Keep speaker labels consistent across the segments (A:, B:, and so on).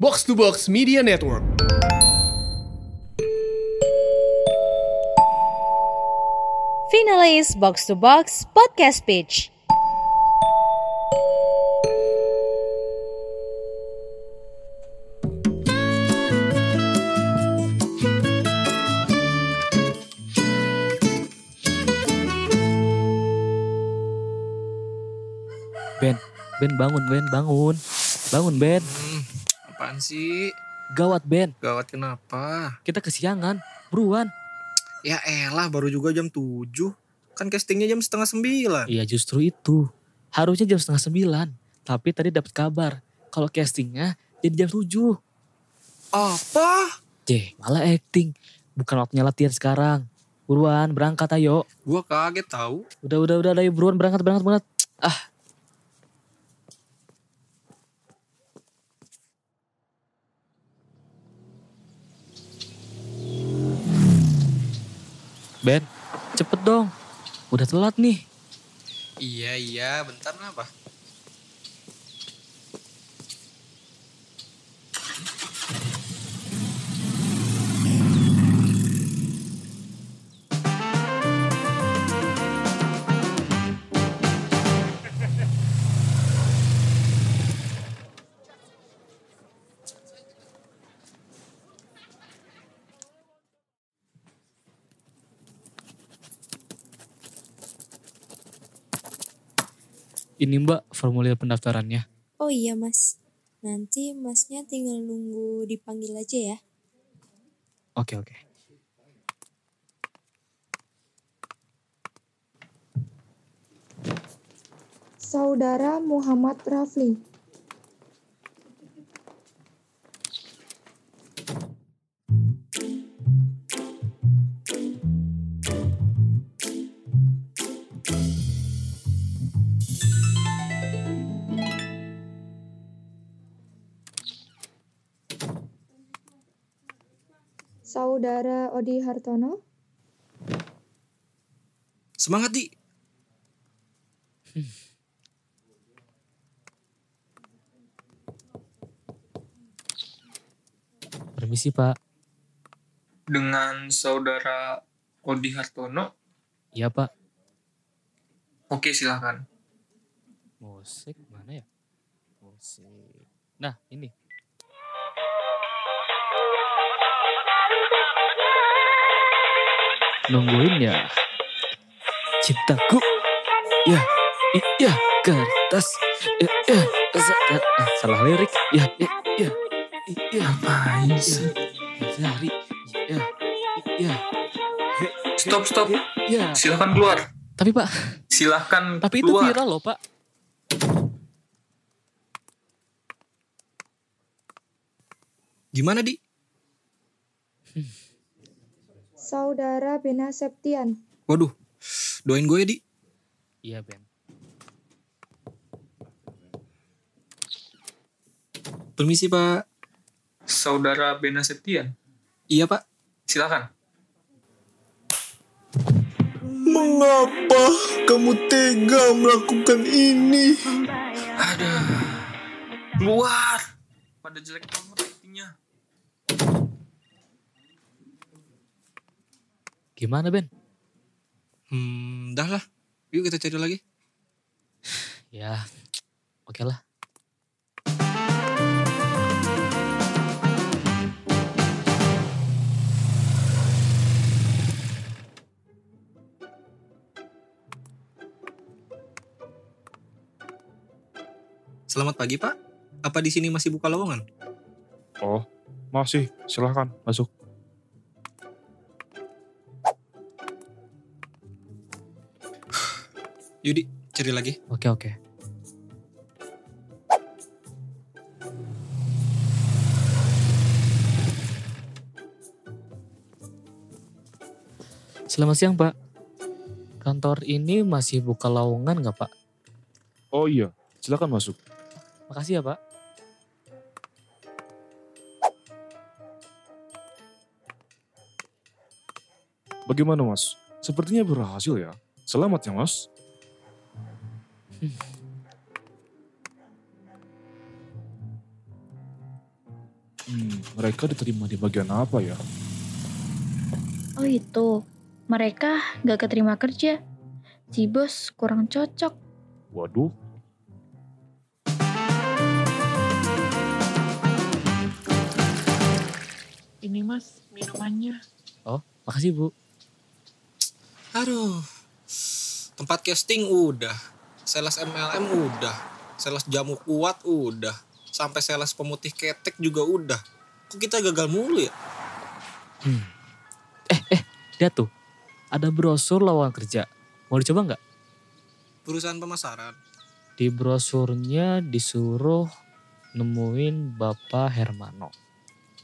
A: Box to Box Media Network.
B: Finalist Box to Box Podcast Pitch.
C: Ben, Ben bangun, Ben bangun. Bangun Ben,
D: Hmm, apaan sih?
C: gawat Ben.
D: Gawat kenapa?
C: Kita kesiangan, buruan.
D: Ya elah baru juga jam 7. Kan castingnya jam setengah sembilan.
C: Iya justru itu. Harusnya jam setengah sembilan. Tapi tadi dapat kabar kalau castingnya jadi jam tujuh.
D: Apa?
C: Jeh, malah acting. Bukan waktunya latihan sekarang. Buruan berangkat ayo.
D: Gua kaget tahu.
C: Udah udah udah ayo buruan berangkat berangkat berangkat. Ah, Ben, cepet dong. Udah telat nih.
D: Iya iya, bentar apa?
C: Ini mbak formulir pendaftarannya.
E: Oh iya mas, nanti masnya tinggal nunggu dipanggil aja ya.
C: Oke oke.
F: Saudara Muhammad Rafli. Saudara Odi Hartono.
D: Semangat di.
C: Permisi pak.
G: dengan saudara Odi Hartono.
C: Iya pak.
G: Oke, silahkan.
C: Musik mana ya? Musik. Nah ini. Nungguin ya. Cintaku. Ya. i- Ya. Kertas. Ya. ya, sa- ya, ah, Salah lirik. Ya. Ya. Ya. i- Ya.
G: Apaan
C: sih? Sehari. Ya. i- Ya. He-
G: Stop, stop.
C: Ya.
G: Silahkan keluar.
C: Tapi pak.
G: Silahkan
C: Tapi itu
G: keluar.
C: viral loh pak.
D: Gimana di?
F: Saudara Bena Septian.
D: Waduh. Doain gue ya di.
C: Iya Ben.
D: Permisi pak.
G: Saudara Bena Septian.
D: Iya pak.
G: Silahkan.
D: Mengapa kamu tega melakukan ini?
G: Keluar. Pada jelek banget ratingnya.
C: Gimana Ben?
D: Hmm, dah lah. Yuk kita cari lagi.
C: Ya, oke lah.
D: Selamat pagi pak. Apa di sini masih buka lowongan?
H: Oh, masih. Silahkan masuk.
D: Yudi, cari lagi.
C: Oke oke. Selamat siang Pak. Kantor ini masih buka lowongan nggak Pak?
H: Oh iya, silahkan masuk.
C: Makasih ya Pak.
H: Bagaimana mas? Sepertinya berhasil ya. Selamat ya mas. Hmm, mereka diterima di bagian apa ya?
I: Oh itu, mereka gak keterima kerja. Si bos kurang cocok.
H: Waduh,
J: Ini mas, minumannya.
C: Makasih Bu.
D: Aduh. Tempat casting udah. Sales MLM udah. Sales jamu kuat udah. Sampai sales pemutih ketek juga udah. Kok kita gagal mulu ya?
C: Lihat tuh, ada brosur lowongan kerja. Mau dicoba nggak?
D: Perusahaan pemasaran.
C: Di brosurnya disuruh nemuin Bapak Hermano.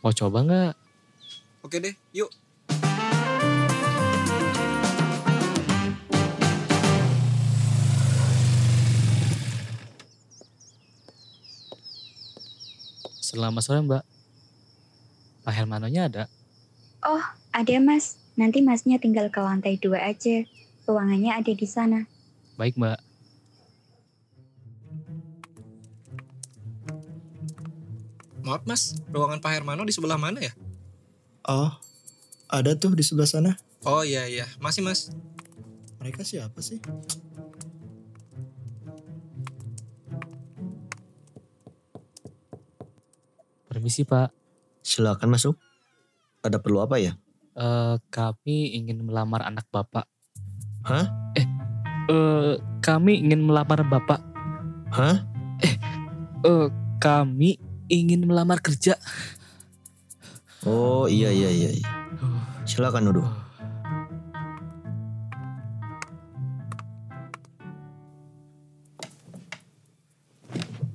C: Mau coba nggak?
D: Oke deh, yuk.
C: Selamat sore Mbak. Pak Hermanonya ada.
J: Ada mas, nanti masnya tinggal ke lantai dua aja. Ruangannya ada di sana.
C: Baik Mbak.
D: Maaf mas, ruangan Pak Hermano di sebelah mana ya?
K: Oh, ada tuh di sebelah sana.
D: Oh iya iya, masih mas.
K: Mereka siapa sih?
C: Permisi Pak.
K: Silakan masuk. Ada perlu apa ya?
C: Eh, kami ingin melamar anak Bapak.
K: Hah?
C: Eh, eh, kami ingin melamar Bapak.
K: Hah?
C: Eh, kami ingin melamar kerja.
K: Oh iya iya iya. iya. Silakan duduk.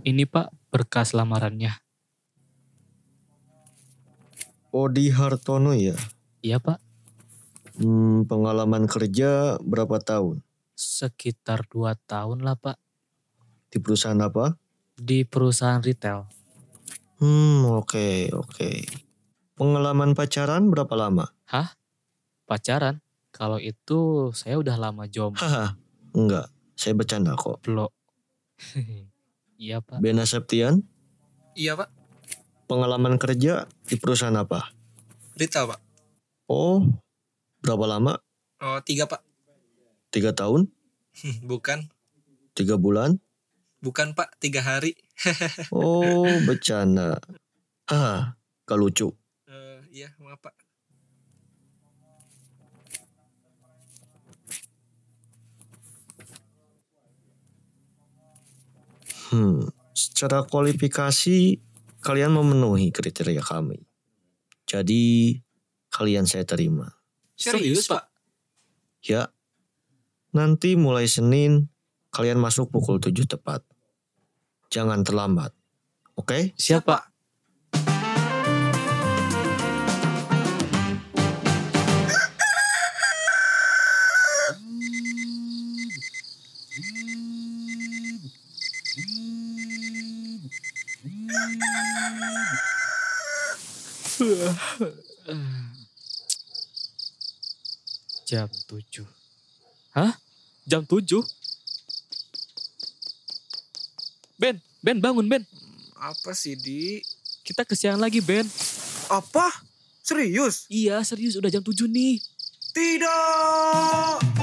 C: Ini Pak berkas lamarannya.
K: Odi Hartono ya.
C: Iya Pak,
K: Hmm, pengalaman kerja berapa tahun?
C: sekitar 2 tahun lah Pak
K: Di perusahaan apa?
C: di perusahaan retail.
K: Hmm, oke oke. Pengalaman pacaran berapa lama?
C: Pacaran, kalau itu saya udah lama jomblo.
K: Haha, enggak. Saya bercanda kok.
C: Iya Pak.
K: Bena Septian,
D: Iya pak,
K: pengalaman kerja di perusahaan apa?
D: Rita pak.
K: Oh, berapa lama?
D: Oh tiga pak. Hmm,
K: Tiga tahun?
D: Bukan,
K: Tiga bulan?
D: bukan pak, tiga hari.
K: Oh, bercanda. Haha, gak lucu.
D: Eh, iya maaf pak.
K: Hmm, secara kualifikasi kalian memenuhi kriteria kami. Jadi kalian saya terima.
D: Serius, pak?
K: Ya. Nanti mulai Senin kalian masuk pukul 7 tepat. Jangan terlambat. Oke?
C: Siapa? Jam 7. Hah? Jam 7? Ben, Ben bangun Ben.
D: Apa sih di?
C: Kita kesiangan lagi Ben.
D: Apa? Serius?
C: Iya serius udah jam 7 nih.
D: Tidak.